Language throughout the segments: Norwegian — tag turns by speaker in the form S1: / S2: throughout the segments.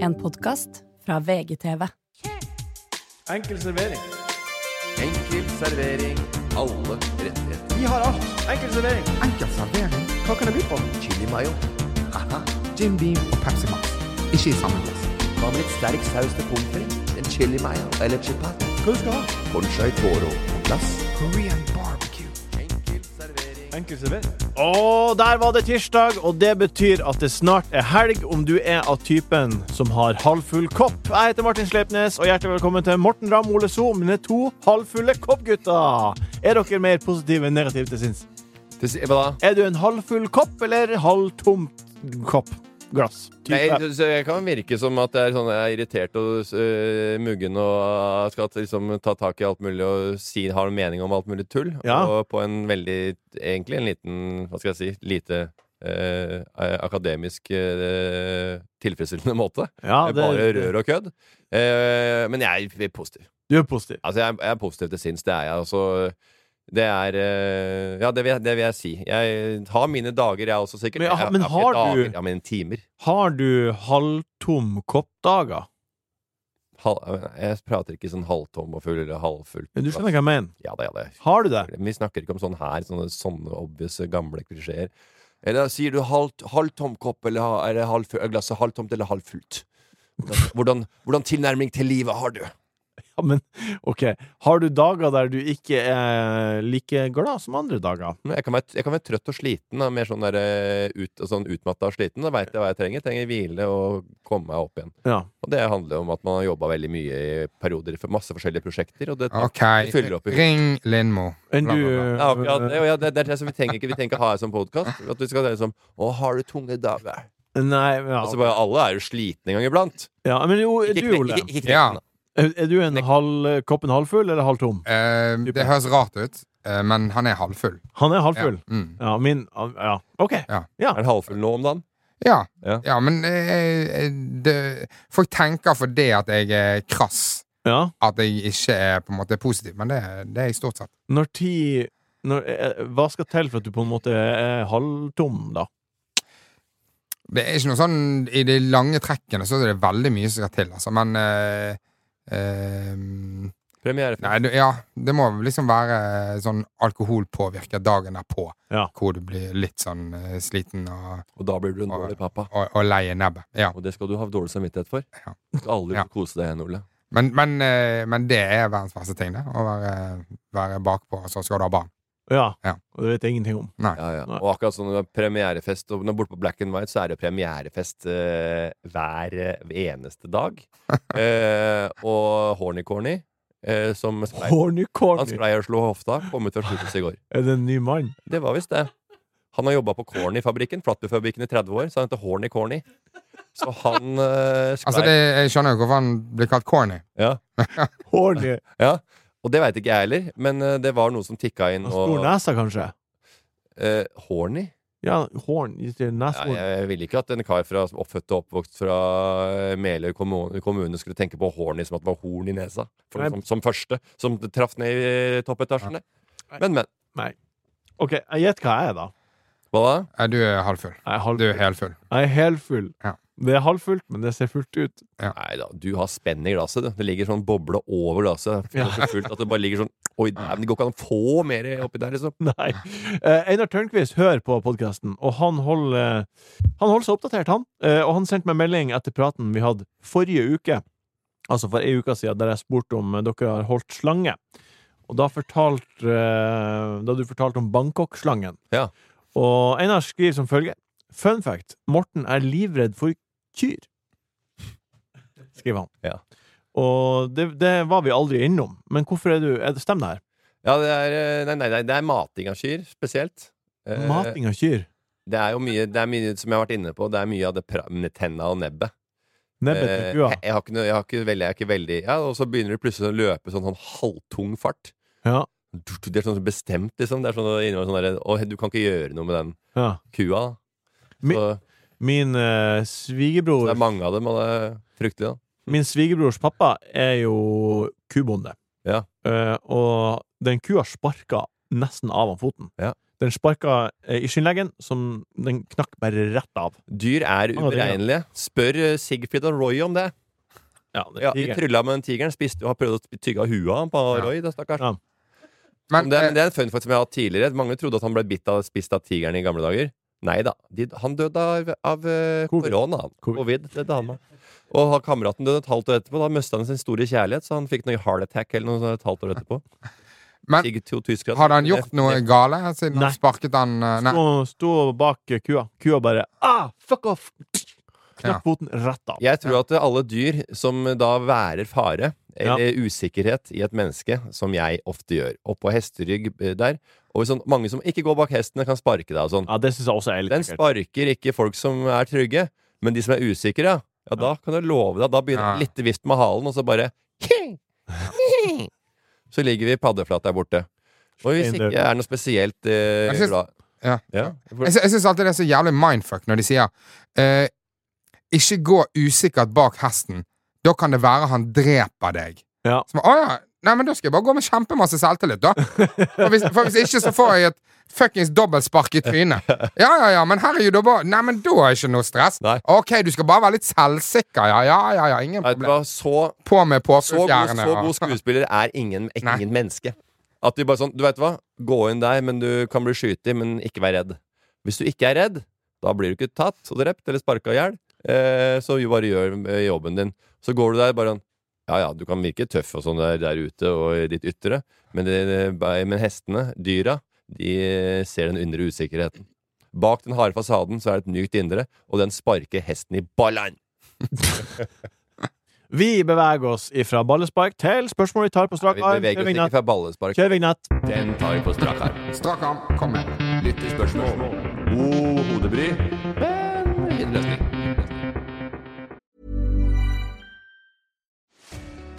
S1: En podkast fra VGTV.
S2: Enkel servering.
S3: Enkel servering. Alle rettigheter.
S2: Vi har alt. Enkel servering.
S4: Enkel servering,
S2: Hva kan det by på?
S3: Chili mayo. Aha.
S4: Jim Beam og Pepsi Max. Ikke i samme glass.
S3: Hva med litt sterk saus til pommes frites? En chili mayo eller chipat?
S2: Hva du skal ha?
S3: Conchai toro på glass.
S4: Korean barbecue.
S3: Enkel servering.
S2: Enkel servering.
S5: Og der var det tirsdag, og det betyr at det snart er helg om du er av typen som har halvfull kopp. Jeg heter Martin Sleipnes, og hjertelig velkommen til Morten Ramm Ole So, mine to halvfulle koppgutter. Er dere mer positive enn negative til sinns?
S3: Hva da?
S5: Er du en halvfull kopp eller halvtomt kopp? Glass. Type.
S3: Nei, så- så jeg kan virke som at jeg er, sånn, jeg er irritert og øh, muggen og skal til liksom, ta tak i alt mulig og si, har noen mening om alt mulig tull.
S5: Ja.
S3: Og på en veldig, egentlig en liten, hva skal jeg si, lite øh, akademisk øh, tilfredsstillende måte.
S5: ja,
S3: Det
S5: det,
S3: er Bare rør og kødd. Eh, men jeg er positiv.
S5: du er positiv.
S3: Altså, jeg, er- jeg er positiv til sinns. Det er jeg. Altså, det er eh, Ja, det vil, jeg- det vil jeg si. Jeg har mine dager, jeg også, sikkert.
S5: Men jeg-
S3: Jeg-
S5: men
S3: jeg
S5: har
S3: ikke
S5: du-
S3: dager, Ja, men timer.
S5: Har du halvtom koppdager?
S3: Hal, jeg prater ikke sånn halvtom og full eller halvfull.
S5: Du skjønner hva jeg mener.
S3: Ja da, ja da.
S5: Har du det?
S3: Vi snakker ikke om sånn her, sånne, sånne obvious gamle klisjeer. Eller sier du halv, halvtom kopp, eller ha- er det halvfull, er glasset halvtomt eller halvfullt? Hvordan- Hvordan, hvordan tilnærming til livet har du?
S5: Ja, men OK. Har du dager der du ikke er like glad som andre dager?
S3: Men Jeg kan, være, jeg kan være trøtt og sliten, da, mer sånn, der, eh, ut, sånn utmatta og sliten. Da veit jeg hva jeg trenger. Jeg trenger hvile og komme meg opp igjen.
S5: Ja.
S3: Og det handler om at man har jobba veldig mye i perioder for masse forskjellige prosjekter. Og det,
S4: OK,
S3: det fyller opp i
S4: ring Lindmo.
S5: Enn
S4: Bla,
S5: du
S4: bla, bla.
S3: ja, akkurat det, og ja, det, det er derfor vi trenger ikke Vi trenger ikke ha det som podkast. At vi skal være sånn Å, har du tunge dager?
S5: Nei, men ja.
S3: Altså, bare, alle er jo slitne en gang iblant.
S5: ja men jo, er du,
S3: Ikke knek-
S5: Ole?
S3: ikke- ikke
S4: Ja.
S3: knekken, da.
S5: Er er du en halv, koppen halvfull eller halvtom?
S4: Eh, det høres rart ut, eh, men han er halvfull.
S5: Han er
S4: Ja.
S5: halvfull.
S4: Mm.
S5: Ja, min Ja, OK.
S3: Er den halvfull nå om dagen?
S4: Ja.
S3: Ja.
S4: ja, men eh, eh, det, folk tenker for det at jeg er krass,
S5: Ja.
S4: at jeg ikke er på en måte positiv, men det, det er jeg stort sett.
S5: Når tid når, eh, Hva skal til for at du på en måte er halvtom, da?
S4: Det er ikke noe sånn I de lange trekkene så er det veldig mye som skal til, altså, men eh, eh,
S3: Premiere
S4: Nei, du, ja. Det må liksom være sånn alkoholpåvirket dagen derpå,
S5: Ja.
S4: hvor du blir litt sånn eh, sliten og,
S3: Og da blir du en dårlig pappa.
S4: og, og lei i nebbet. Ja.
S3: Og det skal du ha dårlig samvittighet for.
S4: Ja.
S3: Du skal aldri
S4: Ja.
S3: kose deg igjen, Ole.
S4: Men, men, eh, men det er verdens verste ting, det. Å være, være bakpå, og så skal du ha barn.
S5: Ja.
S4: Ja.
S5: Og det vet jeg ingenting om.
S3: Ja, ja.
S5: Nei.
S3: Og akkurat sånn når det er premierefest og når Borte på Black and White så er det premierefest eh, hver eh, eneste dag. Eh, og Horny-Corny, eh, som splei-
S5: Horny
S3: han
S5: corny!
S3: splei og slo hofta, kom ut fra sykehus i går.
S5: Er det en ny mann?
S3: Det var visst det. Han har jobba på Corny-fabrikken, Flatbyfabrikken, i 30 år, så han heter Horny-Corny. Så han eh, sklei.
S4: Altså, det, jeg skjønner jo hvorfor han blir kalt corny.
S3: ja.
S5: Horny
S3: ja. Og det veit ikke jeg heller, men eh, det var noen som tikka inn
S5: og
S3: og
S5: stor nesa, kanskje?
S3: eh, Horny?
S5: Ja, horn
S3: Ja,
S5: Nesehorn.
S3: jeg ville ikke at en kar fra, oppfødt og oppvokst fra eh, Meløy kommune, kommune skulle tenke på horny som at det var horn i nesa. For,
S5: Nei.
S3: som, som første som det traff ned i toppetasjen. der.
S5: Nei.
S3: Men, men.
S5: OK, jeg gjett hva jeg er, da.
S3: Hva da?
S4: Eh, Du er halvfull.
S5: Jeg er
S4: Du
S5: halvfull.
S4: er helfull.
S5: Jeg er helfull.
S4: Ja.
S5: Det er halvfullt, men det ser fullt ut.
S3: Nei da, du har spenn i glasset. Du. Det ligger sånn boble over glasset. Det er så fullt at det bare ligger sånn Oi, dæven, det går ikke an å få mer oppi der, liksom.
S5: Nei. Eh, Einar Tørnquist hører på podkasten, og han holder, eh, han holder seg oppdatert, han. Eh, og han sendte meg melding etter praten vi hadde forrige uke, altså for ei uke siden, der jeg spurte om eh, dere har holdt slange. Og da fortalte eh, Da du fortalte om Bangkok-slangen.
S3: Ja.
S5: Og Einar skriver som følger. Fun fact. Morten er livredd for kyr. Skriver han.
S3: Ja.
S5: Og det, det var vi aldri innom. Men hvorfor er du er det, Stemmer det her?
S3: Ja, det er eh, Nei, nei, nei det er mating av kyr, spesielt. Eh,
S5: Mating av kyr.
S3: Det er jo mye, det er mye som jeg har vært inne på, det er mye av det pra- med tenna og nebbet.
S5: Nebbet
S3: Eh,
S5: med kua.
S3: Jeg, jeg, har ikke, noe- jeg, har ikke veldig, jeg er ikke veldig ja, Og så begynner det plutselig å løpe sånn, sånn halvtung fart.
S5: Ja.
S3: Det er sånn bestemt, liksom. Det er sånn, det innebærer sånn der, «Å, du kan ikke gjøre noe med den
S5: Ja.
S3: kua.
S5: Mi-
S3: Så,
S5: Min eh,
S3: så det
S5: svigerbror
S3: er mange av dem, og det er fryktelig, da.
S5: Min svigerbrors pappa er jo kubonde.
S3: Ja.
S5: Eh, og den kua sparka nesten av han foten.
S3: Ja.
S5: Den sparka eh, i skinnleggen, som den knakk bare rett av.
S3: Dyr er
S5: Ah, det er-
S3: uberegnelige. Spør eh, Sigfrid og Roy om det.
S5: Ja, det
S3: Ja,
S5: er
S3: de
S5: tigeren.
S3: trylla med den tigeren. Spiste og har prøvd å sp- tygge av huet av han på
S4: Ja.
S3: Roy. Da, stakkars.
S5: Ja.
S3: Men, det, er-
S4: eh,
S3: men det er en fun fact som jeg har hatt tidligere. Mange trodde at han ble bitt av, spist av tigeren i gamle dager. Nei da. De, han døde av, av eh,
S5: Covid.
S3: korona. Han.
S5: Covid.
S3: Covid. døde han av. Og ha- kameraten døde et halvt år etterpå. Da mista han sin store kjærlighet, så han fikk noe heart attack eller noe sånt et halvt år etterpå.
S4: Men
S3: Sigurd Tho Tyskland.
S4: hadde han gjort noe gale siden
S5: Nei.
S4: han sparket han eh, Nei.
S5: Sto, sto bak eh, kua. Kua bare ah, fuck off!
S4: Ja.
S5: Knakk foten rett av.
S3: Jeg tror at alle dyr som da værer fare eller usikkerhet i et menneske, som jeg ofte gjør, oppå hesterygg eh, der Og sånn, mange som ikke går bak hestene, kan sparke deg og sånn.
S5: Ja, det syns jeg også er litt
S3: Den
S5: ekkelt.
S3: sparker ikke folk som er trygge, men de som er usikre, ja, ja da kan du love deg. Da begynner
S4: Ja.
S3: litt vift med halen, og så bare Så ligger vi paddeflat der borte. Og hvis ikke jeg er noe spesielt eh,
S4: Jeg synes-
S3: glad
S4: Ja.
S3: ja.
S4: Jeg, sy- jeg syns alltid det er så jævlig mindfuck når de sier eh, Ikke gå usikkert bak hesten. Da kan det være han dreper deg.
S5: Ja.
S4: Så, man, å ja, nei, men da skal jeg bare gå med kjempemasse selvtillit, da. For hvis, for hvis ikke, så får jeg et fuckings dobbeltspark i trynet. Ja, ja, ja, men herregud, da bare Nei, men da er ikke noe stress.
S3: Nei.
S4: Ok, du skal bare være litt selvsikker. Ja, ja, ja, ja ingen
S3: Vet du
S4: problem.
S3: hva, så
S4: På med
S3: så god,
S4: påfuglfjærene.
S3: så god skuespiller er ingen, er
S4: Nei.
S3: ingen menneske. At de bare sånn, du vet hva, gå inn der, men du kan bli skutt i, men ikke vær redd. Hvis du ikke er redd, da blir du ikke tatt og drept eller sparka i hjel. Eh, så jo bare gjør eh, jobben din. Så går du der bare sånn Ja ja, du kan virke tøff og sånn der, der ute og i ditt ytre, men, det, men hestene, dyra, de ser den indre usikkerheten. Bak den harde fasaden så er det et mykt indre, og den sparker hesten i ballen!
S5: Vi beveger oss ifra ballespark til spørsmål vi tar på strak
S3: Vi
S5: arm. Kjør
S3: beveger oss ikke
S5: vignett.
S3: fra ballespark.
S5: Kjør vignett.
S3: Den tar vi på strak arm.
S4: Strak arm. Kom med.
S3: Lyttespørsmål. God hodebry. Men fin løsning.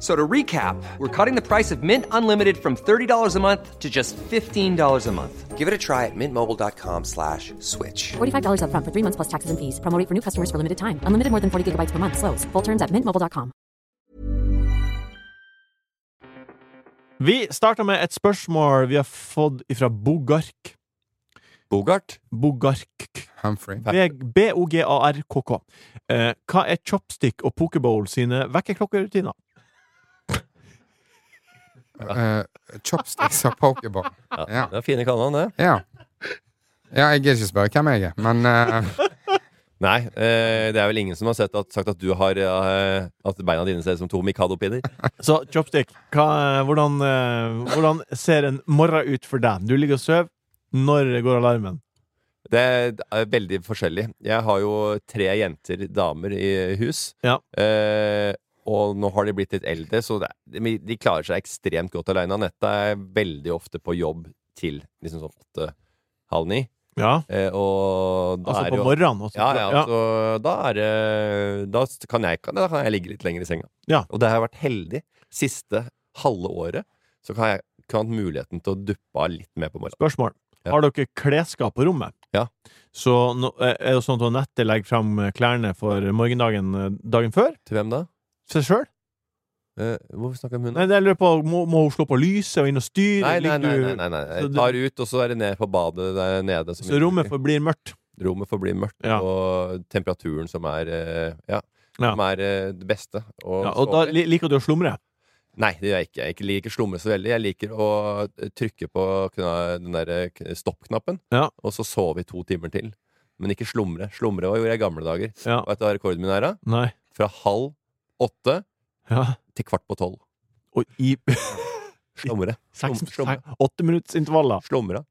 S6: So to recap, we're cutting the price of Mint Unlimited from $30 a month to just $15 a month. Give it a try at mintmobile.com slash switch.
S7: $45 upfront for three months plus taxes and fees. Promo rate for new customers for limited time. Unlimited more than 40 gigabytes per month. Slows. Full terms at mintmobile.com.
S5: Vi starter med et spørsmål vi har fått ifra Bogark.
S3: Bogart.
S5: Bogark.
S4: Humphrey.
S5: B- B-O-G-A-R-K-K. Eh, hva er Chopstick og Pokeball sine vekkerklokkerutiner?
S4: Eh, chopsticks og pokerball. Ja.
S3: Det er fine kallenavn, det.
S4: Ja. ja jeg gidder ikke spørre hvem jeg er, men eh,
S3: Nei, eh, det er vel ingen som har sett at, sagt at du har eh, At beina dine ser ut som to Mikado-pinner.
S5: Så Chopstick, hva, hvordan, eh, hvordan ser en morgen ut for deg? Du ligger og sover. Når går alarmen?
S3: Det er veldig forskjellig. Jeg har jo tre jenter, damer, i hus.
S5: Ja.
S3: Eh, og nå har de blitt litt eldre, så det, de de klarer seg ekstremt godt aleine. Anette er veldig ofte på jobb til liksom sånn åtte-halv ni.
S5: Ja,
S3: Eh, og da
S5: altså
S3: er
S5: på
S3: det jo
S5: morgenen. også.
S3: Ja, ja,
S5: Ja.
S3: altså, da er det Da s- kan jeg, kan- da kan jeg ligge litt lenger i senga.
S5: Ja.
S3: Og det har jeg vært heldig. Siste halve året så kan jeg kan ha hatt muligheten til å duppe av litt mer på morgenen.
S5: Spørsmål.
S3: Ja.
S5: Har dere klesskap på rommet?
S3: Ja.
S5: Så nå, eh, er det sånn at Anette legger fram klærne for morgendagen eh, dagen før?
S3: Til hvem da?
S5: For seg sjøl?
S3: Eh, hvorfor snakker jeg om
S5: Nei,
S3: hunden?
S5: det lurer jeg på, må, må hun slå på lyset og inn og styre?
S3: Nei, nei,
S5: Ligger
S3: nei.
S5: du-
S3: nei, nei, nei.
S5: så
S3: Jeg
S5: du-
S3: tar ut, og så er det ned på badet der nede. som
S5: Så rommet
S3: inntrykket.
S5: forblir mørkt.
S3: Rommet forblir mørkt,
S5: Ja.
S3: og temperaturen som er eh, Ja.
S5: Ja.
S3: Som er eh, det beste. å
S5: Ja, og
S3: sove
S5: da
S3: i.
S5: li- liker du å slumre.
S3: Nei, det gjør jeg ikke. Jeg ikke- liker ikke slumre så veldig. Jeg liker å eh, trykke på kna- den der eh, k- stopp-knappen,
S5: Ja.
S3: og så sove i to timer til. Men ikke slumre. Slumre hva gjorde jeg i gamle dager.
S5: Ja.
S3: Vet du hva rekorden min er? da?
S5: Nei.
S3: Fra halv åtte
S5: Ja.
S3: til kvart på tolv.
S5: Og i
S3: Slumre.
S5: seks-
S3: Slum- slumre.
S5: seks- åtteminuttersintervaller.
S3: Slumra.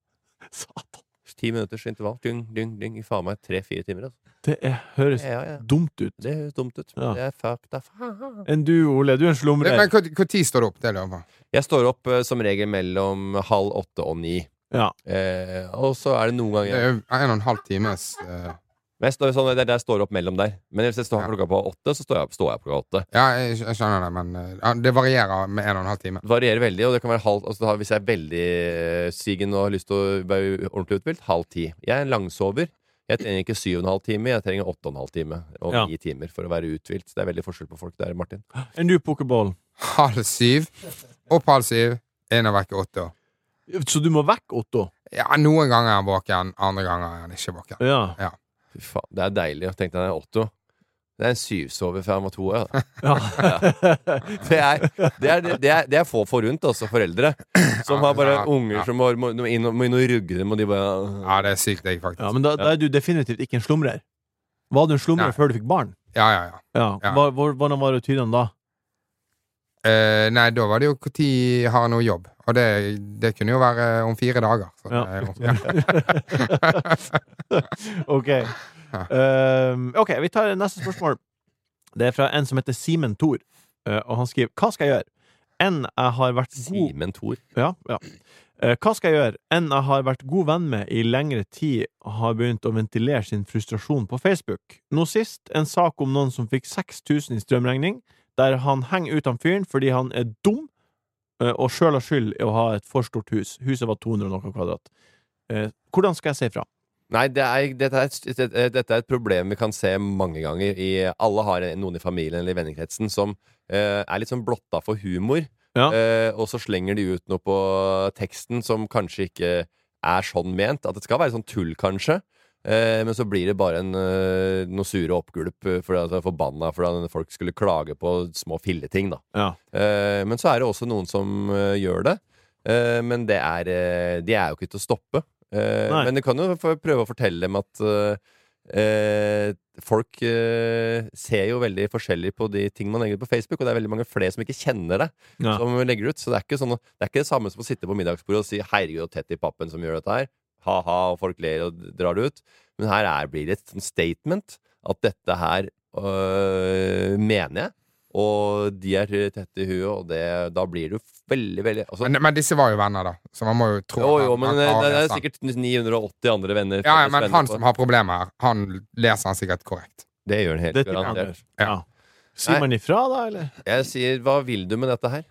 S5: Satan.
S3: Ti minutters intervall. Dyng, dyng, dyng. I faen meg tre-fire timer. Altså.
S5: Det er, høres
S3: Ja, ja.
S5: dumt ut.
S3: Det høres dumt ut.
S5: Ja.
S3: Det er fucked up.
S5: Enn du, Ole, du er en
S4: Men men
S5: slumrer.
S4: hvor hvor tid står det opp? Det lurer jeg på.
S3: Jeg står opp eh, som regel mellom halv åtte og ni.
S5: Ja.
S3: Eh, og så er det noen
S4: Det
S3: ganger
S4: er jo en og en halv times eh,
S3: Men jeg står, sånn, det er der jeg står opp mellom der. Men hvis jeg står opp klokka på åtte, så står jeg opp, står jeg opp klokka åtte.
S4: Ja, jeg, skj- jeg skjønner det, men eh, ja, det varierer med en og en halv time.
S3: Det varierer veldig, og det kan være halv altså, da- Hvis jeg er veldig eh, sygen og har lyst til å være ordentlig uthvilt, halv ti. Jeg er en langsover. Jeg trenger ikke syv og en halv time, jeg trenger åtte og en halv time. Og
S5: Ja.
S3: ni timer for å være uthvilt. Det er veldig forskjell på folk der, Martin.
S5: Enn du, Pokéball.
S4: Halv syv, opp halv syv, inn og vekke åtte.
S5: Så du må vekk Otto?
S4: Ja, noen ganger er han våken, andre ganger er han ikke våken.
S5: Ja.
S3: Fy faen, det er deilig. Jeg tenkte jeg er åtte. Det er en syvsover fra han var to. Ja.
S5: ja.
S3: Det er, det, er, det, er, det er få forunt, altså, foreldre. Som har bare
S4: Ja, ja,
S3: unger
S4: ja.
S3: som må, må, må inn og, må inn og rugge dem, og de bare
S4: Ja, det er sykt digg, faktisk.
S5: ja men da, da er du definitivt ikke en slumrer. Var du en slumrer
S4: Nei.
S5: før du fikk barn?
S4: Ja, ja, ja.
S5: Ja.
S4: Ja.
S5: Hva- hvor- hvordan var rutinene da?
S4: Eh, nei, da var det jo når har jeg noe jobb. Og det, det kunne jo være eh, om fire dager. Så,
S5: Ja.
S4: det er jo- ja.
S5: Ok. Ehm, ok, vi tar neste spørsmål. Det er fra en som heter Simen Thor, eh, og han skriver Hva skal jeg gjøre? Enn jeg har vært god
S3: Simen Thor.
S5: ja, ja. Eh, Hva skal jeg gjøre? Enn jeg har vært god venn med i lengre tid, har begynt å ventilere sin frustrasjon på Facebook. Nå sist en sak om noen som fikk 6000 i strømregning, der han henger ut han fyren fordi han er dum eh, og sjøl har skyld i å ha et for stort hus. Huset var 200 og noe kvadrat. Eh, Hvordan skal jeg si ifra?
S3: Nei, det er, dette, er, et- dette- dette er et problem vi kan se mange ganger. I, alle har noen i familien eller i vennekretsen som eh, er litt sånn blotta for humor,
S5: Ja.
S3: eh, og så slenger de ut noe på teksten som kanskje ikke er sånn ment. At det skal være sånn tull, kanskje. Eh, men så blir det bare en, eh, noe sure oppgulp eh, fordi at jeg er forbanna fordi at folk skulle klage på små filleting, da.
S5: Ja.
S3: Eh, men så er det også noen som eh, gjør det. Eh, men det er, eh, de er jo ikke til å stoppe. Eh,
S5: Nei.
S3: men du kan jo få- prøve å fortelle dem at eh, eh, folk eh, ser jo veldig forskjellig på de ting man legger ut på Facebook, og det er veldig mange flere som ikke kjenner det.
S5: Ja.
S3: Som legger ut Så det er ikke, sånn, at- det er ikke det samme som å sitte på middagsbordet og si 'herregud, og tett i pappen som gjør dette her'. Ha-ha, og folk ler og drar det ut. Men her er, blir det et sånn statement at dette her øh, mener jeg. Og de er tette i huet, og det, da blir du veldig, veldig altså,
S4: men, men disse var jo venner, da, så man må jo tro
S3: Jo,
S4: at
S3: jo,
S4: han-
S3: men
S4: han
S3: det,
S4: klarer
S3: det er
S4: sant.
S3: sikkert 980 andre venner.
S4: ja, ja,
S3: felles
S4: men
S3: venner
S4: han
S3: på-
S4: som har problemet her, han leser han sikkert korrekt.
S3: Det gjør han helt
S5: Det tipper jeg han
S3: garantert.
S5: gjør. Ja. Sier man ifra, da, eller?
S3: Jeg sier 'hva vil du med dette her'?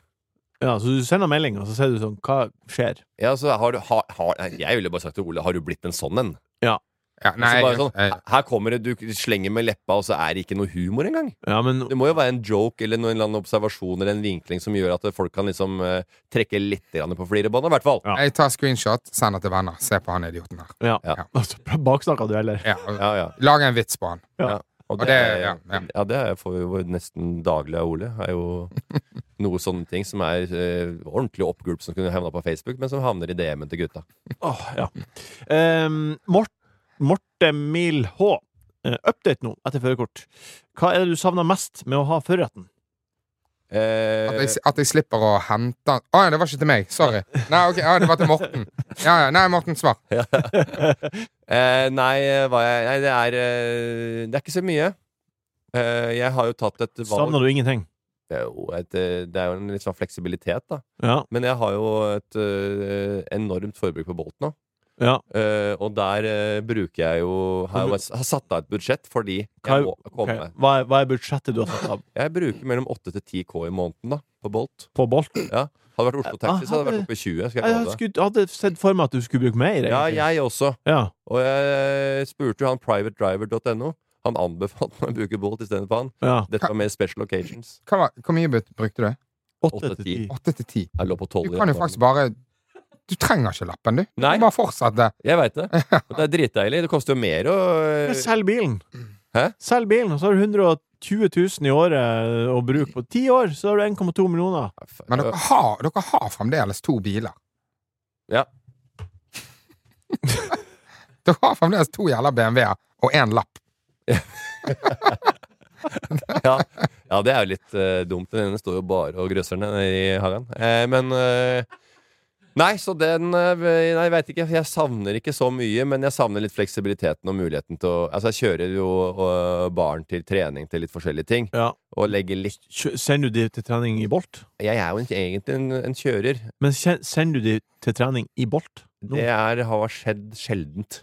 S5: Ja, så du sender melding, og så sier du sånn Hva skjer?
S3: Ja, så har du, har, har, jeg ville bare sagt til Ole 'har du blitt en sånn en'?
S4: Ja,
S3: så
S4: nei,
S3: bare
S4: jeg-
S3: sånn,
S4: jeg-
S3: her kommer det, du slenger med leppa, og så er det ikke noe humor engang.
S5: Ja, men
S3: Det må jo være en joke eller noen eller annen observasjon eller en vinkling som gjør at folk kan liksom eh, trekke litt grann på flirebåndet, i hvert fall.
S5: Ja.
S4: jeg tar screenshot, sender til venner. Se på han idioten her.
S5: Ja.
S3: Ja.
S5: Altså, Baksnakka du, eller?
S4: Ja,
S3: Ja, ja.
S4: Lage en vits på han.
S3: Og det,
S4: Og
S3: ja,
S4: det- ja,
S3: ja.
S4: ja.
S3: det er- får vi jo nesten daglig av Ole. Er jo noe sånne ting som er eh, ordentlig oppgulp som kunne havna på Facebook, men som havner i DM-en til gutta.
S5: Åh, ja. Ehm, Mort, Morte Mil H. Eh, update nå, etter førerkort. Hva er det du savner mest med å ha førerretten?
S3: Eh,
S4: At jeg, at jeg slipper å hente han Å ja, det var ikke til meg. Sorry. Nei, ok, ja, Det var til Morten. Ja, ja, nei, Morten, svar.
S3: Eh, nei, eh, hva jeg, nei, det er eh, Det er ikke så mye. Eh, jeg har jo tatt et valg
S5: Savner du ingenting?
S3: Det er jo et, eh, det er jo en litt sånn fleksibilitet, da.
S5: Ja.
S3: Men jeg har jo et eh, enormt forbruk på Bolt nå.
S5: ja.
S3: Eh, og der eh, bruker jeg jo Har, jo, har satt av et budsjett fordi
S5: Hva,
S3: jeg
S5: er-
S3: må komme
S5: ok.
S3: meg
S5: hva, er, hva er budsjettet du har satt av
S3: Jeg bruker mellom 8 til 10 K i måneden da på Bolt.
S5: på Bolt?
S3: Ja. Hadde det vært
S4: Eh,
S3: Oslo
S4: ah,
S3: Taxi, så hadde det vært oppe i 20. Skal
S5: Jeg
S3: jeg love deg.
S5: skulle, hadde sett for meg at du skulle bruke mer.
S3: Ja,
S5: egentlig.
S3: jeg også.
S5: ja.
S3: Og jeg spurte jo han privatedriver.no. Han anbefalte meg å bruke Bolt istedenfor han.
S5: ja.
S3: Dette var mer special occasions.
S4: Hva var- Hvor mye bruk- brukte du?
S5: Åtte til ti.
S4: Åtte til ti?
S3: Jeg lå på 12 i
S4: Du kan jo
S3: reklamen.
S4: faktisk bare Du trenger ikke lappen, du. Du
S3: Nei.
S4: kan bare fortsette.
S3: Jeg veit det. Og det er dritdeilig. Det koster jo mer å eh,
S5: Selg bilen!
S3: Hæ?
S5: Selg bilen, og så har du 120 000 i året å bruke på ti år, så har du 1,2 millioner.
S4: Men dere har, dere har fremdeles to biler.
S3: Ja.
S4: Dere har fremdeles to jævla BMW-er og én lapp.
S3: ja. ja, det er jo litt eh, dumt. Den ene står jo bare og grøsser ned i hagen. Eh, men eh, Nei, så den eh, Nei, jeg veit ikke. Jeg savner ikke så mye, men jeg savner litt fleksibiliteten og muligheten til å Altså, jeg kjører jo eh, barn til trening til litt forskjellige ting,
S5: Ja.
S3: og legger litt
S5: Kjø- Sender du de til trening i Bolt?
S3: Jeg er jo en- egentlig en, en kjører.
S5: Men kjen- sender du de til trening i Bolt? Nå?
S3: Det er, har skjedd sjeldent.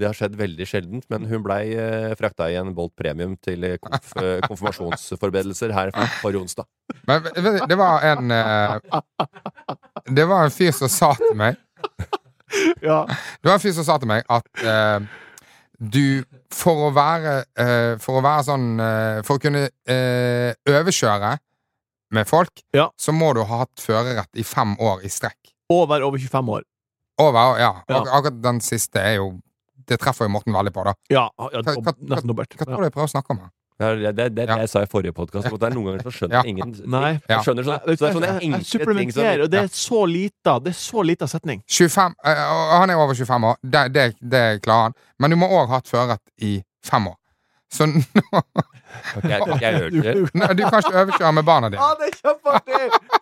S3: Det har skjedd veldig sjeldent, men hun blei eh, frakta i en Bolt premium til eh, konf, eh, konfirmasjonsforberedelser her for, forrige onsdag.
S4: Men vet du, det var en eh, Det var en fyr som sa til meg
S5: Ja.
S4: Det var en fyr som sa til meg at eh, du For å være eh, For å være sånn eh, For å kunne eh, overkjøre med folk,
S5: Ja.
S4: så må du ha hatt førerrett i fem år i strekk.
S5: Og være over 25 år.
S4: Over, ja. Ak
S5: Ja.
S4: Akkurat den siste er jo Det treffer jo Morten veldig på, da.
S5: Ja, ja
S4: Hva-
S5: og
S4: hva-
S5: nesten dobbelt.
S4: Hva
S5: Ja.
S4: tror du jeg prøver å snakke om her?
S3: Det er det, det, er det
S4: Ja.
S3: jeg sa i forrige podkast, at det er noen ganger så skjønner
S4: Ja.
S3: ingen
S5: Nei.
S4: Ja.
S3: jeg skjønner sånn, så Det er sånne
S5: Jeg- jeg
S3: enkle ting som
S5: supplementerer, og det er så lita, det er så lita setning.
S4: 25, eh, og han er over 25 år, det, det, det klarer han. Men du må òg ha hatt førerrett i fem år. Så nå,
S3: Ok, jeg, jeg, jeg hørte det.
S4: nå, du kan ikke overkjøre med barna dine.
S5: Ja, det er kjempeartig!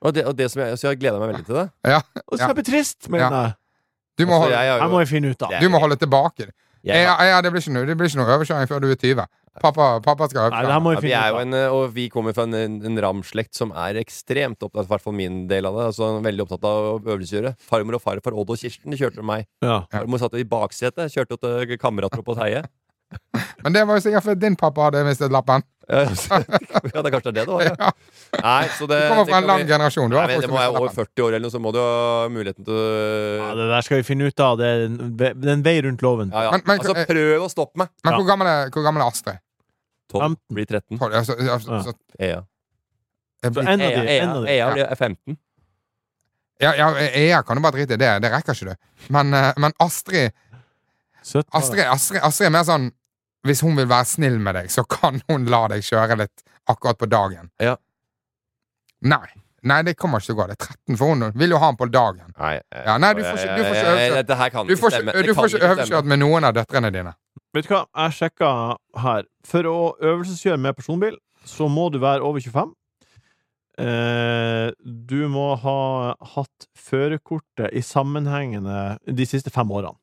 S3: Og det, og det som jeg, så jeg gleda meg veldig til det.
S4: Ja,
S5: Og
S4: Ja.
S5: kjempetrist, mener jeg.
S4: du, må
S3: Altså,
S4: holde,
S3: jeg,
S5: eh,
S3: har
S5: Her
S3: jo-
S5: må jeg finne ut av.
S3: Det
S4: du må holde tilbake. Ja,
S3: jeg,
S4: ja, det, blir ikke noe, det blir ikke noe overkjøring før du er 20. Pappa, pappa skal
S5: Nei, det her
S4: overkjøre.
S5: må
S3: ja,
S5: jeg finne ut av.
S3: vi er jo en, eh, og vi kommer fra en, en en Ram-slekt som er ekstremt opptatt, i hvert fall min del av det. Altså, veldig opptatt av å øvelseskjøre. Farmor og farfar Odd og Kirsten de kjørte meg.
S5: Ja.
S3: Farmor satt i baksetet, kjørte til kamerater på Teie.
S4: Men det var jo sikkert fordi din pappa hadde mistet lappen.
S3: Eh, så- ja, det er kanskje det det var, ja. Nei, så det,
S4: Du kommer fra
S3: det,
S4: en lang
S3: kan vi-
S4: generasjon. Du
S3: Nei,
S4: har
S3: men
S4: folk
S3: det må være
S4: som mister
S3: over
S4: lappen.
S3: 40 år eller noe, så må du ha muligheten til
S5: ja,
S3: å
S5: det der skal vi finne ut av. Det er en ve- det er en vei rundt loven.
S3: Ja, ja.
S4: Men- eh, men-
S3: Altså, prøv å stoppe meg!
S4: Men hvor gammel er, hvor gammel er Astrid?
S3: 12 blir 13.
S4: Tolv, Altså,
S5: Ja.
S4: altså, så-
S3: Ea.
S5: Så
S4: jeg blir-
S5: en av
S3: Ea,
S5: de, en av
S3: Ea,
S5: de.
S3: Ea blir- er 15.
S4: ja, ja, Ea kan du bare drite i. Det, det rekker ikke du. Men, eh, men Astrid,
S5: 17 år.
S4: Astrid, Astrid, Astrid er mer sånn Hvis hun vil være snill med deg, så kan hun la deg kjøre litt akkurat på dagen.
S3: Ja.
S4: Nei. Nei, det kommer ikke til å gå. Det er 13 for hun. Vil jo ha den på dagen.
S3: Nei, eh,
S4: Ja, nei, du får ikke- du får ikke øvd seg.
S3: Dette her kan
S4: Du
S3: ikke
S4: får
S3: stemme.
S4: ikke,
S3: Det
S4: du
S3: kan
S4: får ikke
S3: stemme.
S4: overkjørt med noen av døtrene dine.
S5: Vet du hva, jeg sjekka her. For å øvelseskjøre med personbil, så må du være over 25. Eh, du må ha hatt førerkortet i sammenhengende de siste fem årene.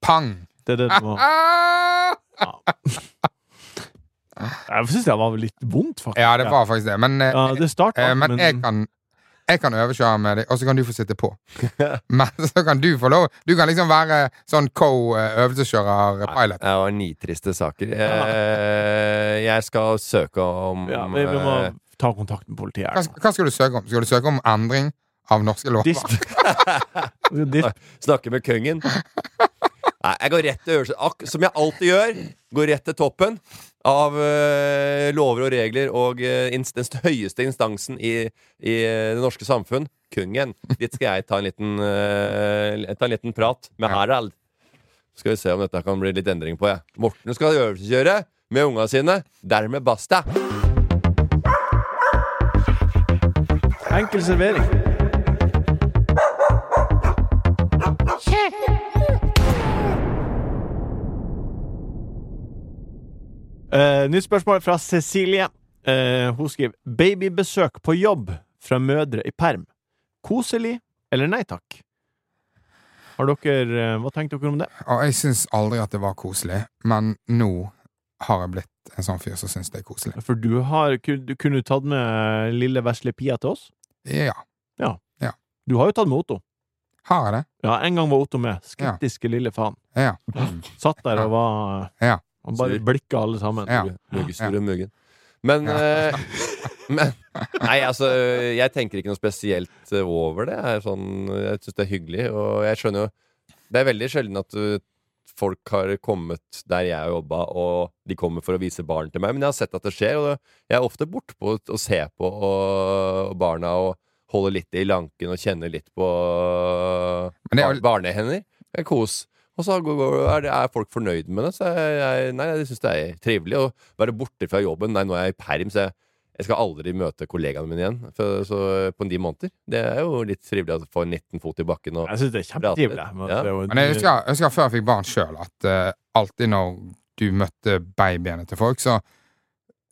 S4: Pang!
S5: Det er det du må
S4: Ah!
S5: ja. Jeg syns det var litt vondt, faktisk.
S4: Ja, det var faktisk det. Men, eh,
S5: Ja, det starta,
S4: eh, men jeg kan jeg kan overkjøre med deg, og så kan du få sitte på. Men så kan du få lov Du kan liksom være sånn co-øvelseskjører-pilot.
S3: Det var nitriste saker. Eh, jeg skal søke om
S5: ja, vi, vi må
S3: eh,
S5: ta kontakt med politiet.
S4: Hva,
S5: her.
S4: hva skal du søke om? Skal du søke om endring av norske lover?
S5: Disp. Disp.
S3: Snakke med kongen. Nei, jeg går rett til øvelsen. Ak som jeg alltid gjør. Går rett til toppen av eh, lover og regler og eh, ins- den høyeste instansen i, i eh, det norske samfunn. Kongen. Dit skal jeg ta en liten, eh, ta en liten prat med Harald. Skal vi se om dette kan bli litt endring på. Jeg. Morten skal øvelseskjøre med unga sine. Dermed basta.
S2: Enkel servering.
S5: Eh, nytt spørsmål fra Cecilie. Eh, hun skriver 'Babybesøk på jobb fra mødre i perm'. Koselig eller nei takk? Har dere, eh, hva tenkte dere om det?
S4: Og jeg syns aldri at det var koselig, men nå har jeg blitt en sånn fyr som syns det er koselig.
S5: For du har kun- du kunne tatt med eh, lille vesle Pia til oss.
S4: Ja.
S5: Du har jo tatt med Otto.
S4: Har jeg det?
S5: Ja, en gang var Otto med. Skeptiske lille faen.
S4: Ja.
S5: Satt der og var eh,
S4: Ja.
S5: Og bare
S3: Sur.
S5: blikka alle sammen.
S4: Ja.
S3: Muggestor og muggen. Men,
S4: Ja.
S3: eh, men Nei, altså, jeg tenker ikke noe spesielt eh, over det. Jeg, er sånn, jeg syns det er hyggelig, og jeg skjønner jo Det er veldig sjelden at eh, folk har kommet der jeg har jobba, og de kommer for å vise barn til meg, men jeg har sett at det skjer, og det, jeg er ofte bortpå og ser på og, og barna og holder litt i lanken og kjenner litt på
S4: Men det er
S3: bar
S4: jo-
S3: barnehender. Det er kos. Og så går- går- er, det- er folk fornøyd med det. Så jeg, jeg, nei, jeg syns det er trivelig å være borte fra jobben. Nei, nå er jeg i perm, så jeg, jeg skal aldri møte kollegaene mine igjen for, så, på ni måneder. Det er jo litt trivelig å få 19 fot i bakken og
S5: Jeg syns det er kjempetrivelig. men
S3: Ja.
S5: det er jo-
S4: Men jeg husker, jeg husker før jeg fikk barn sjøl, at eh, alltid når du møtte babyene til folk, så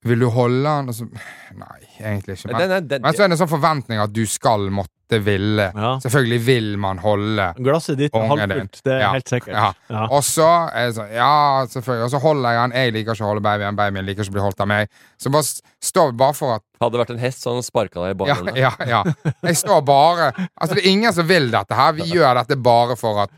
S4: vil du holde han, og så Nei, egentlig ikke.
S3: Nei,
S4: Men,
S3: nei, det-
S4: men så er det en sånn forventning at du skal måtte det ville.
S5: Ja.
S4: Selvfølgelig vil man holde
S5: Glasset ditt er
S4: Ungen din.
S5: halvfullt, det er
S4: Ja.
S5: helt sikkert.
S4: Ja.
S5: Ja.
S4: Og så er det sånn, Ja, selvfølgelig. Og så holder jeg han. Jeg liker ikke å holde babyen. Babyen liker ikke å bli holdt av meg. Så bare s- står vi bare for at
S3: Hadde det vært en hest, så hadde han sparka deg i
S4: ja,
S3: bakhodet.
S4: ja, ja. Jeg står bare Altså, det er ingen som vil dette her. Vi gjør dette bare for at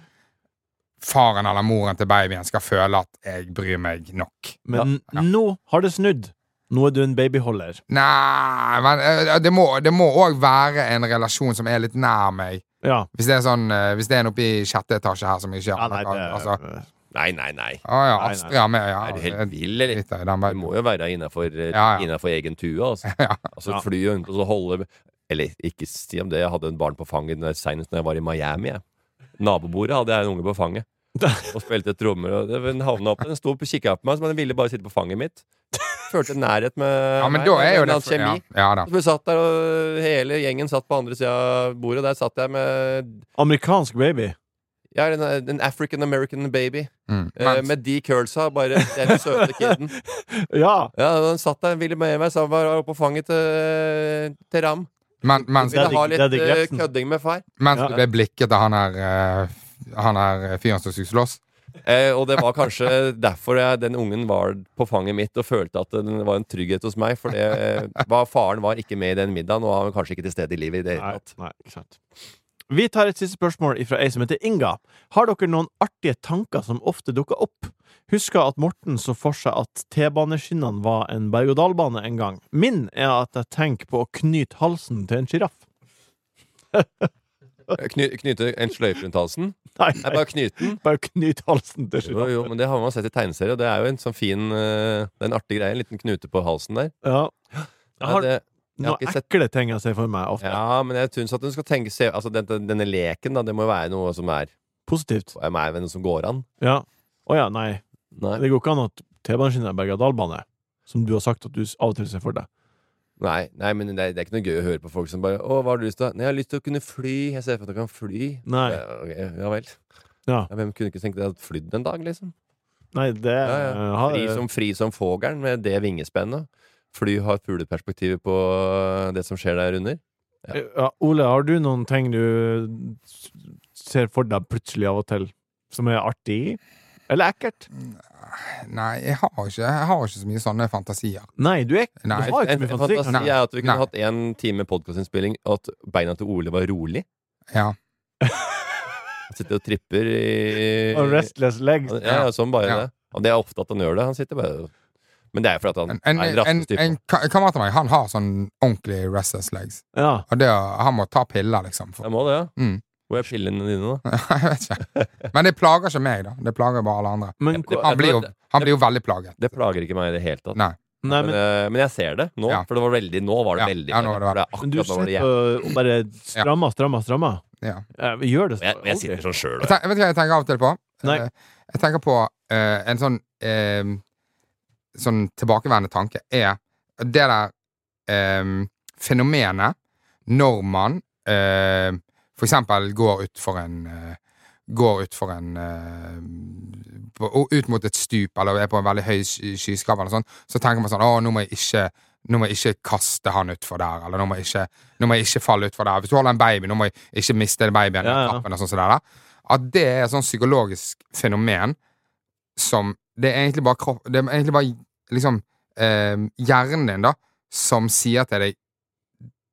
S4: faren eller moren til babyen skal føle at jeg bryr meg nok.
S5: Men nå har det snudd. Nå er du en babyholder.
S4: Nei, men eh, det må- det må òg være en relasjon som er litt nær meg.
S5: Ja.
S4: Hvis det er sånn eh, Hvis det er en oppe i sjette etasje her som ikke
S5: ja
S4: har
S5: nei, det,
S4: altså,
S3: Nei, nei, nei.
S4: Å ja,
S5: nei.
S4: Astrid er med, ja.
S3: Er du helt vill, eller?
S4: Driter i den
S3: Du
S4: babyen.
S3: må jo være innafor
S4: Ja, ja.
S3: egen tue, altså.
S4: Ja.
S3: altså fly rundt og så holde Eller ikke si om det, jeg hadde en barn på fanget når- senest når jeg var i Miami. Jeg. Nabobordet hadde jeg en unge på fanget. Og spilte trommer. Og det- den havna opp, den sto og kikka på meg, så den ville bare sitte på fanget mitt. Følte nærhet med
S4: Ja,
S3: meg,
S4: men da
S3: det var
S4: er jo
S3: en
S4: det
S3: annen kjemi.
S4: Ja, ja da.
S3: Så vi satt der, og hele gjengen satt på andre sida av bordet. Der satt jeg med
S5: Amerikansk baby.
S3: Jeg er en, en African American baby.
S4: Mm.
S3: Eh,
S4: Men-
S3: med de curlsa, bare den søte kiden.
S5: Ja!
S3: Ja, Den satt der, ville med meg, så han var oppe på fanget til, til Ram.
S4: men- Mens
S5: Altså, Det er
S3: Ville ha
S5: digg-
S3: litt
S5: det er digg
S3: eh,
S5: Grefsen.
S3: kødding med far.
S4: mens
S5: Ja.
S4: du ble blikket av han her eh, Han her fyren som skulle slåss.
S3: Eh, og det var kanskje derfor jeg, den ungen var på fanget mitt og følte at den var en trygghet hos meg. For det, eh, var, faren var ikke med i den middagen, og han var kanskje ikke til stede i livet i det hele
S5: Nei,
S3: tatt.
S5: nei, ikke sant. Vi tar et siste spørsmål fra ei som heter Inga. Har dere noen artige tanker som ofte dukker opp? Husker at Morten så for seg at T-baneskinnene var en berg-og-dal-bane en gang. Min er at jeg tenker på å knyte halsen til en sjiraff.
S3: Kny, knyte en sløyfe rundt halsen.
S5: Nei,
S3: Nei,
S5: nei,
S3: bare knyte den.
S5: bare knyte halsen til
S3: Jo,
S5: sjiraff.
S3: jo, men det har man sett i tegneserier, og det er jo en sånn fin eh, Det er en artig greie. En liten knute på halsen der.
S5: Ja. Jeg
S3: Nei,
S5: har
S3: det, jeg har
S5: noen
S3: ikke sett
S5: ekle ting jeg ser for meg ofte.
S3: ja, men jeg syns at hun skal tenke se, Altså, den, den- denne leken, da, det må jo være noe som er
S5: Positivt.
S3: Er meg noe som går an.
S5: Ja. Å ja, nei.
S3: Nei.
S5: Det går ikke an at T-baneskinner er berg-og-dal-bane, som du har sagt at du av og til ser for deg.
S3: Nei, nei, men det er, det er ikke noe gøy å høre på folk som bare 'Å, hva har du lyst til?' da?» Nei, 'Jeg har lyst til å kunne fly.' Jeg ser for meg at jeg kan fly.
S5: Nei.
S3: Ja, ok, ja vel.
S5: Ja.
S3: Ja, hvem kunne ikke tenkt seg å fly en dag, liksom?
S5: Nei, det
S3: Ja, ja.
S5: eh, har-
S3: Fri som, fri som fogelen med det vingespennet. Fly har fugleperspektivet på det som skjer der under.
S5: Ja, Ole, har du noen ting du s- ser for deg plutselig av og til, som er artig? Eller ekkelt?
S4: Nei, jeg har ikke, jeg har ikke så mye sånne fantasier.
S5: Nei, du, er,
S4: Nei,
S5: du har ikke
S3: En
S5: så mye fantasi.
S3: fantasi
S5: kanskje.
S3: er at vi kunne
S4: Nei.
S3: hatt en time podkastinnspilling, og at beina til Ole var rolig.
S4: Ja.
S3: Han sitter og tripper i
S5: Og restless legs.
S3: Han- Ja, ja, sånn bare
S4: Ja.
S3: det. Og det er ofte at han gjør det. Han sitter bare Men det er fordi at han
S4: En, en,
S3: er en
S4: en,
S3: raskest type.
S4: en ka- kamerat av meg, han har sånn ordentlig restless legs.
S5: Ja.
S4: Og det, å- han må ta piller, liksom. For,
S3: Jeg må det, ja.
S4: Mm.
S3: Hvor er pillene dine, da?
S4: jeg vet ikke. Men det plager ikke meg, da. Det plager bare alle andre.
S5: Men,
S3: det-
S5: hva-
S4: Han blir jo, han blir jo veldig plaget.
S3: Det plager ikke meg i det hele tatt.
S4: Nei.
S5: nei,
S3: Men,
S5: men,
S3: eh, men jeg ser det nå,
S4: Ja.
S3: for det var veldig Nå var det
S4: Ja.
S3: veldig
S4: Ja, nå var det
S3: for er
S5: men du
S3: akkurat nå var
S5: sitter
S3: det jeg.
S5: og bare strammer, strammer, strammer.
S4: Ja.
S5: Eh, vi Gjør det
S3: Jeg, jeg
S5: aldri.
S3: sitter sånn sjøl.
S4: Jeg tenker, vet du hva jeg tenker av og til på?
S5: Nei.
S4: Eh, Jeg tenker på eh, en sånn eh, Sånn tilbakeværende tanke er det der eh, fenomenet når man eh, for eksempel går utfor en eh, Går utfor en eh, på, og Ut mot et stup eller er på en veldig høy sky- skyskraper eller sånn, så tenker man sånn Å, nå må jeg ikke nå må jeg ikke kaste han utfor der, eller nå må jeg ikke, nå må jeg ikke falle utfor der. Hvis du holder en baby, nå må jeg ikke miste babyen i
S5: Ja, ja.
S4: trappen og sånn som det der at det er et sånn psykologisk fenomen som Det er egentlig bare kropp Det er egentlig bare liksom eh, hjernen din, da, som sier til deg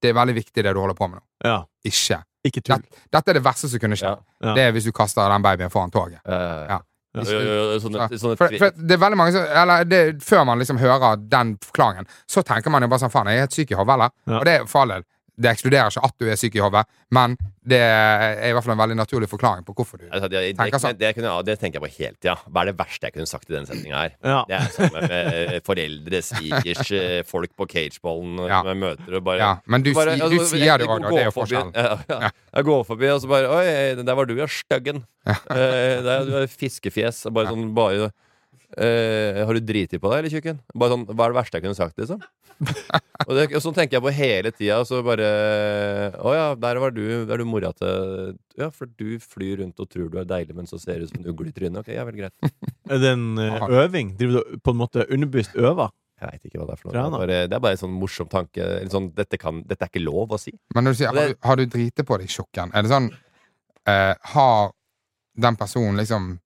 S4: Det er veldig viktig, det du holder på med nå.
S5: Ja.
S4: Ikke.
S5: Ikke tull.
S4: Dette er det verste som kunne skje.
S3: Ja.
S5: Ja.
S4: Det er hvis du kaster den babyen foran toget. Ja.
S5: Ja.
S3: Eh, Jo, jo, jo, sånne, sånne
S4: For, for det er veldig mange som Eller det, før man liksom hører den forklaringen, så tenker man jo bare sånn Faen, jeg er helt syk i hodet, eller?
S5: Ja.
S4: Og det er for all del. Det ekskluderer ikke at du er syk i hodet, men det er i hvert fall en veldig naturlig forklaring på hvorfor du
S3: Altså, det, det,
S4: Tenker
S3: kunne,
S4: sånn.
S3: det, kunne, jeg- det tenker jeg på hele tida. Hva er det verste jeg kunne sagt i denne setninga her?
S5: Ja.
S3: Det er samme med eh, foreldre, svigers, eh, folk på cageballen eh,
S4: Ja.
S3: som jeg møter og bare
S4: Ja, men du,
S3: Bare,
S4: si- du
S3: altså,
S4: sier
S3: jeg-
S4: det jo, da. Det er
S3: går
S4: jo
S3: forbi-
S4: forskjellen.
S3: Ja, ja. Jeg går forbi, og så bare Oi, der var du, ja, styggen. Eh, der- Du har fiskefjes. og Bare sånn bare eh, Har du driti på deg, eller, tjukken? Bare sånn, Hva er det verste jeg kunne sagt, liksom? og, det, og sånn tenker jeg på hele tida. og Så bare Å ja, der var du. Der er du mora til Ja, for du flyr rundt og tror du er deilig, men så ser du ut som en ugle i trynet. Ok, ja vel, greit.
S5: Er det en eh, øving? Driver du på en måte underbevisst øver?
S3: Jeg veit ikke hva det er for noe.
S5: Tror jeg
S3: Det er bare, det er bare en sånn morsom tanke. En sånn, dette, kan, dette er ikke lov å si.
S4: Men når du sier,
S3: Og det-
S4: har, du- har du driti på deg tjukken? Er det sånn eh, Har den personen liksom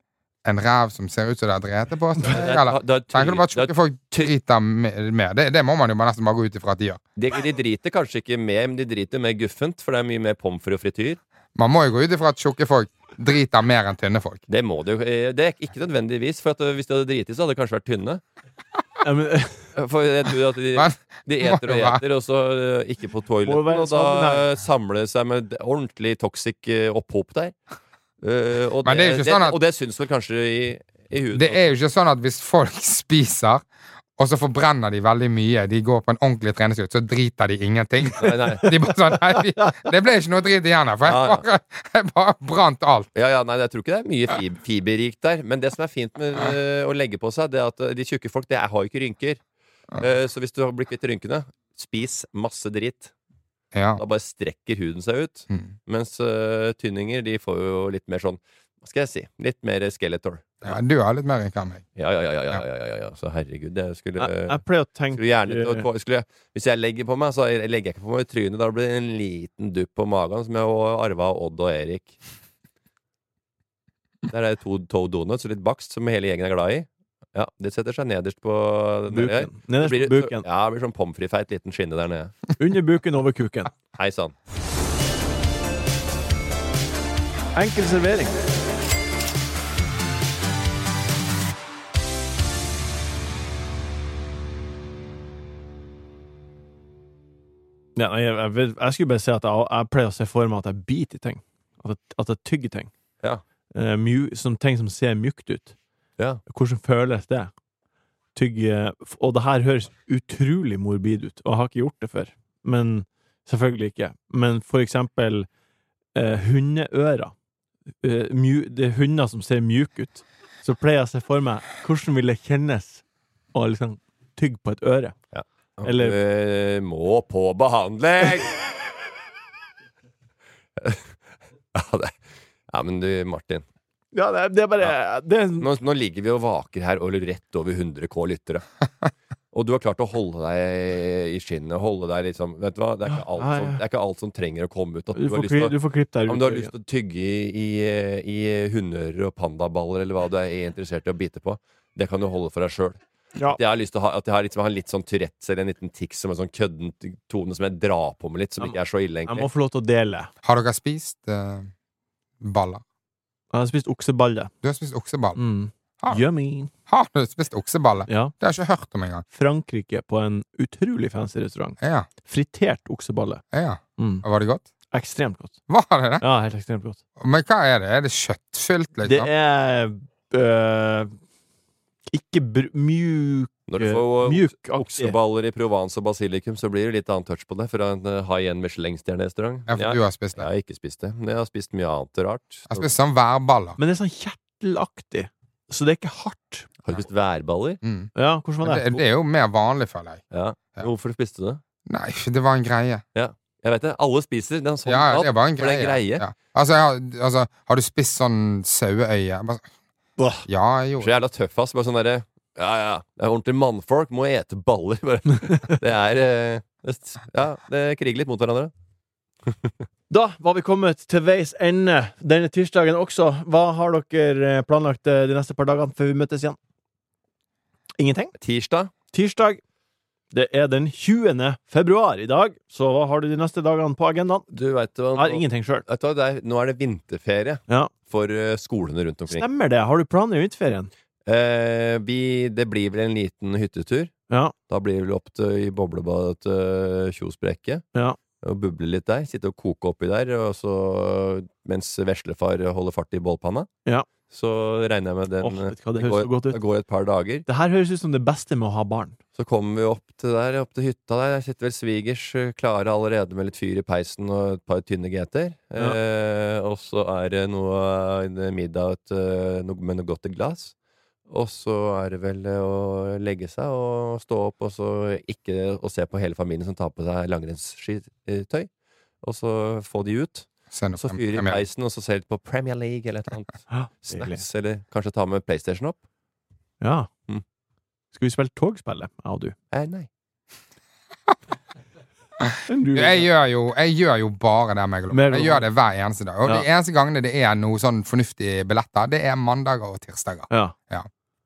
S4: en ræv som ser ut som det er drete på seg?
S3: Det er-
S4: Eller
S3: det er tydelig-
S4: tenker du bare at
S3: det
S4: tjukke
S3: er-
S4: folk driter med? med? Det, det må man jo bare nesten bare gå ut ifra at de gjør.
S3: De, de driter kanskje ikke med, men de driter med guffent, for det er mye mer pommes frites og frityr.
S4: Man må jo gå ut ifra at tjukke folk driter mer enn tynne folk.
S3: Det må du jo eh, Det er ikke nødvendigvis, for at eh, hvis de hadde driti, så hadde de kanskje vært tynne. Eh,
S5: Ja, men, eh,
S3: For jeg tror at de,
S4: Men
S3: de eter og
S4: Hva?
S3: eter, og så eh, ikke på
S5: Må
S3: toaletten.
S5: være
S3: Og da
S5: sammen her.
S3: eh, samler det seg med ordentlig toxic eh, opphop der. Eh, og, det,
S4: Men det er jo ikke
S3: det,
S4: sånn at-
S3: og det syns vel kanskje i, i huet.
S4: det er jo ikke sånn at hvis folk spiser og så forbrenner de veldig mye, de går på en ordentlig treningsut, så driter de ingenting.
S3: Nei, nei.
S4: De bare sånn Nei, vi, det ble ikke noe drit igjen her, for
S3: Ja, ja.
S4: jeg bare, jeg bare brant alt.
S3: Ja, ja, nei, jeg tror ikke det er mye fib- fiberrikt der. Men det som er fint med eh, å legge på seg, det er at eh, de tjukke folk det er, har jo ikke rynker. Eh, så hvis du blir kvitt rynkene, spis masse drit.
S4: Ja.
S3: Da bare strekker huden seg ut.
S4: Mm.
S3: Mens eh, tynninger, de får jo litt mer sånn Hva skal jeg si? Litt mer skeletor.
S4: ja du har litt mer rynker enn meg.
S3: Ja, ja, ja, ja, ja, ja, ja, ja. Så herregud, jeg skulle
S5: jeg, jeg pleier å tenke
S3: skulle gjerne, til å- skulle jeg, Hvis jeg legger på meg, så legger jeg ikke på meg i trynet. Da blir det en liten dupp på magen, som jeg arva av Odd og Erik. Der er det to, to donuts og litt bakst, som hele gjengen er glad i. Ja, Det setter seg nederst på den der
S5: buken.
S3: her. Det
S5: Nederst
S3: blir,
S5: på buken.
S3: ja, det blir sånn pommes frites-feit liten skinne der nede.
S5: Under buken, over kuken.
S3: Hei sann.
S2: Enkel servering.
S5: Ja, nei, jeg, jeg, vil- jeg skulle bare si at jeg, jeg pleier å se for meg at jeg biter i ting. At jeg, at jeg tygger ting.
S3: Ja.
S5: Eh, mju, som ting som ser mjukt ut.
S3: Ja.
S5: Hvordan føles det? Tygge f- Og det her høres utrolig morbid ut, og jeg har ikke gjort det før. Men selvfølgelig ikke. Men for eksempel eh, hundeører. Eh, mju, det er hunder som ser mjuke ut. Så pleier jeg å se for meg hvordan vil det kjennes å liksom tygge på et øre. Eller-
S3: Eh, må på behandling! ja, det Ja, men du, Martin.
S5: Ja, det, er bare
S3: Nå, nå ligger vi og vaker her og rett over 100K lyttere. Og du har klart å holde deg i skinnet. Holde deg liksom, vet du hva? Det, er ikke alt som, det er ikke alt som trenger å komme ut. At
S5: Du
S3: du, har
S5: får,
S3: lyst til
S5: kli,
S3: å,
S5: du får klippe deg
S3: om
S5: ut.
S3: du har lyst til å tygge i, i, i hundeører og pandaballer eller hva du er interessert i å bite på, det kan du holde for deg sjøl.
S5: Ja.
S3: At jeg har lyst til å ha, at jeg har liksom, har litt sånn Tourettes eller en liten tics som en sånn kødden tone som jeg drar på med litt, som ikke er så ille,
S5: Jeg må
S3: egentlig.
S5: få lov til å dele.
S4: Har dere spist eh, baller?
S5: Jeg har spist okseballe.
S4: Du har spist okseball.
S5: Mm.
S4: Ah.
S5: Yummy.
S4: Har du spist okseballe?
S5: Ja.
S4: Det har jeg ikke hørt om engang.
S5: Frankrike på en utrolig fancy restaurant.
S4: Ja,
S5: Fritert okseballe.
S4: ja.
S5: Mm.
S4: Var det godt?
S5: Ekstremt godt.
S4: Var det det?
S5: Ja, helt ekstremt godt.
S4: Men hva er det? Er det kjøttfylt,
S5: Det
S4: liksom?
S5: er øh, ikke br mjuk øh,
S3: Når du får
S5: mjuk
S3: okseballer i Provence og basilikum, så blir det litt annen touch på det fra en eh, high-end Michelin-stjerne-restaurant.
S4: Ja, for du har spist
S3: Jeg
S4: det.
S3: har ikke spist det, men jeg har spist mye annet rart.
S4: Jeg har spist sånn værballer.
S5: Men det er sånn kjertelaktig, så det er ikke hardt.
S3: Har du spist værballer?
S4: Mm.
S5: Ja, hvordan
S4: Men
S5: var
S4: Det,
S5: det?
S4: det er jo mer vanlig, føler jeg.
S3: Ja.
S4: Ja.
S3: Hvorfor spiste du det?
S4: Nei, det var en greie.
S3: Jeg vet det, alle spiser. Det er en sånn
S4: Ja, ja, det
S3: mat.
S4: var en
S3: for det er
S4: greie.
S3: greie.
S4: Ja. Altså, jeg har, altså, har du spist sånn saueøye? Bare så-
S5: Blah.
S4: Ja,
S3: Så
S4: jeg gjorde det.
S3: jævla tøff, ass. Bare sånn derre Ja, ja. Det er ordentlige mannfolk. Må ete baller. Bare. Det er eh, det, Ja, det kriger litt mot hverandre.
S5: Da var vi kommet til veis ende denne tirsdagen også. Hva har dere eh, planlagt eh, de neste par dagene før vi møtes igjen? Ingenting?
S3: Tirsdag.
S5: Tirsdag. Det er den 20. februar i dag, så hva har du de neste dagene på agendaen?
S3: Du veit hva
S5: Jeg har ingenting sjøl.
S3: Vet du hva, det er, nå er det vinterferie
S5: Ja.
S3: for eh, skolene rundt omkring.
S5: Stemmer det? Har du planer i vinterferien?
S3: Eh, vi, det blir vel en liten hyttetur.
S5: Ja.
S3: Da blir vi vel opp til, i boblebadet til eh, Kjosbrekket.
S5: Ja.
S3: Og buble litt der. Sitte og koke oppi der og så, mens veslefar holder fart i bålpanna.
S5: Ja.
S3: Så regner jeg med den
S5: Åh, vet du hva, det
S3: det
S5: høres så
S3: går,
S5: godt
S3: eh, det
S5: ut.
S3: går et par dager.
S5: Det her høres ut som det beste med å ha barn.
S3: Så kommer vi opp til der, opp til hytta der. Der sitter vel svigers eh, klare allerede med litt fyr i peisen og et par tynne GT-er.
S5: Ja.
S3: Eh, og så er det noe en middag et, eh, noe- med noe godt i glass. Og så er det vel eh, å legge seg og stå opp, og så ikke å se på hele familien som tar på seg langrennsskitøy. Og så få de ut.
S4: Send
S3: Og så
S4: opp en-
S3: fyre i
S4: en-
S3: peisen, og så se litt på Premier League eller et eller annet.
S5: Ja.
S3: Snacks, eller kanskje ta med PlayStation opp.
S5: Ja.
S3: Mm.
S5: Skal vi spille togspillet, jeg og du?
S3: Eh, nei.
S5: du
S4: Jeg gjør jo, jeg gjør jo bare det megalomane.
S5: Megalomane.
S4: Jeg gjør det hver eneste dag. Og
S5: Ja.
S4: de eneste gangene det er noe sånn fornuftige billetter, det er mandager og tirsdager.
S5: Ja.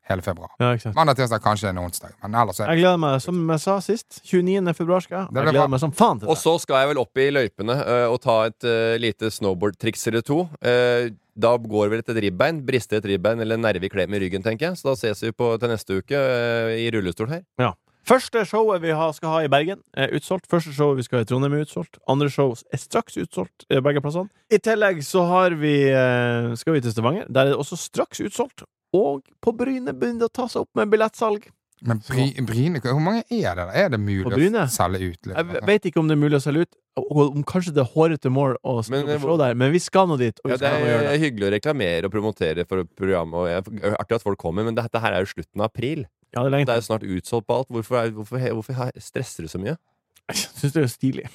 S4: Hele februar.
S5: ja, ikke sant.
S4: Mandag, tirsdag, kanskje en onsdag. Men ellers er
S5: Jeg gleder meg, som jeg sa sist, 29. februar skal jeg.
S4: Det
S5: Jeg
S4: blir bra.
S5: gleder meg som faen til
S3: Og
S5: det.
S3: så skal jeg vel opp i løypene eh, og ta et eh, lite snowboardtriks eller to. Eh, da går vel til et ribbein. Brister et ribbein eller en nerve i klem i ryggen, tenker jeg. Så da ses vi på, til neste uke eh, i rullestol her.
S5: Ja. Første showet vi har, skal ha i Bergen, er utsolgt. Første showet vi skal ha i Trondheim, er utsolgt. Andre show er straks utsolgt, eh, begge plassene. I tillegg så har vi, eh, skal vi til Stavanger. Der er det også straks utsolgt. Og på Bryne begynner det å ta seg opp med billettsalg.
S4: Men Bry, Bryne, hvor mange er det der? Er det mulig
S5: På
S4: å
S5: Bryne?
S4: selge ut? litt?
S5: Jeg vet ikke om det er mulig å selge ut, og om kanskje det er hårete mål å
S3: Men, eh,
S5: stå på der, men vi skal nå dit. Og vi
S3: Ja, det
S5: skal nå
S3: er,
S5: gjøre det.
S3: er hyggelig å reklamere og promotere for programmet. Og jeg, artig at folk kommer, men dette her er jo slutten av april.
S5: Ja, det er lenge
S3: Det er jo snart utsolgt på alt. Hvorfor, er, hvorfor, hvorfor har- stresser du så mye?
S5: Jeg syns det er stilig.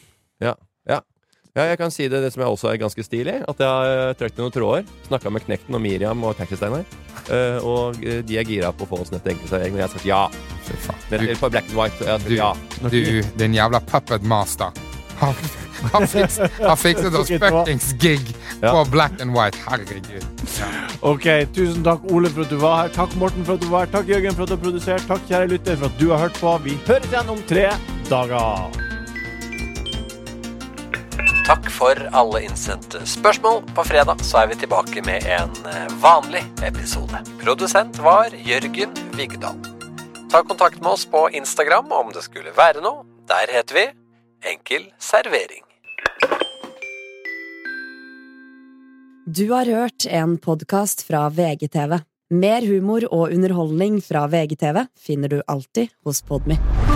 S3: Ja, jeg kan si det, det som jeg også er ganske stilig. At jeg har trukket noen tråder. Snakka med Knekten og Miriam og Taxisteinar. Uh, og eh, de er gira på å få oss ned til enkeltservering. Og jeg har sagt ja.
S4: Fy faen.
S3: Ned til på Black and White. Og jeg har
S4: Du-
S3: sagt ja.
S5: Når
S4: Du, din jævla puppet master. Har, har, fikset, har fikset oss
S5: Ok, det var-
S4: fuckings gig på black and white. Herregud.
S5: Ok, Tusen takk, Ole, for at du var her. Takk, Morten, for at du var her. Takk, Jørgen, for at du har produsert. Takk, kjære lytter, for at du har hørt på. Vi høres igjen om tre dager.
S8: Takk for alle innsendte spørsmål. På fredag så er vi tilbake med en eh, vanlig episode. Produsent var Jørgen Vigdal. Ta kontakt med oss på Instagram om det skulle være noe. Der heter vi Enkel servering.
S9: Du har hørt en podkast fra VGTV. Mer humor og underholdning fra VGTV finner du alltid hos Podmy.